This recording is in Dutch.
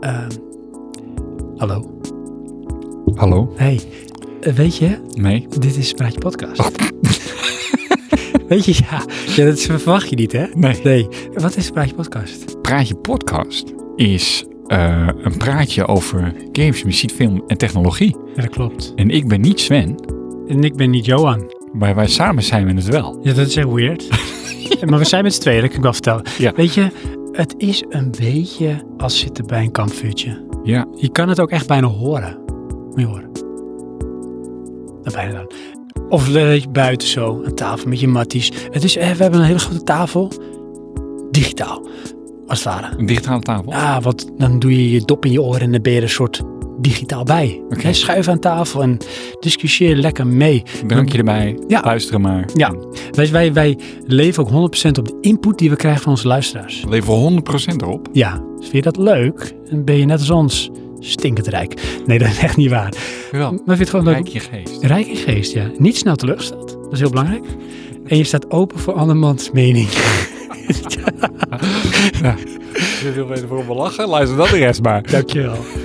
Ehm, hallo. Hallo? Hey, eh, weet je, Nee. dit is Praatje Podcast. weet je, ja, ja, dat is- verwacht je niet, hè? Nee. Nee. Wat is Praatje Podcast? Praatje Podcast is eh, een praatje over games, muziek, film en technologie. Ja, dat klopt. En ik ben niet Sven, En ik ben niet Johan. maar wij samen zijn we het wel. Ja, dat is echt weird. maar we zijn met z'n tweeën, dat kan ik wel vertellen. Ja. Weet je, het is een beetje als zitten bij een kampvuurtje. Ja. Je kan het ook echt bijna horen. Moet je horen. Nou, bijna dan. Of le- buiten zo, een tafel met je matties. Het is, eh, we hebben een hele grote tafel. Digitaal, als het ware. Een digitale tafel. Ja, want dan doe je je dop in je oren en dan ben je er een soort digitaal bij. Oké. Hè, Schuif aan tafel en discussieer lekker mee. Drankje erbij. Ja. Luisteren maar. Ja, wij, wij, wij leven ook 100% op de input die we krijgen van onze luisteraars. Leveren 100% erop. Ja, dus vind je dat leuk? Dan ben je net als ons stinkend rijk. Nee, dat is echt niet waar. Wel. Maar vind je het gewoon leuk? Kijk Rijk, je geest. in geest, ja. Niet snel teleurgesteld. Dat is heel belangrijk. En je staat open voor andermans mening. Je wil weten waarom we lachen? Luister dan de rest maar. Dankjewel.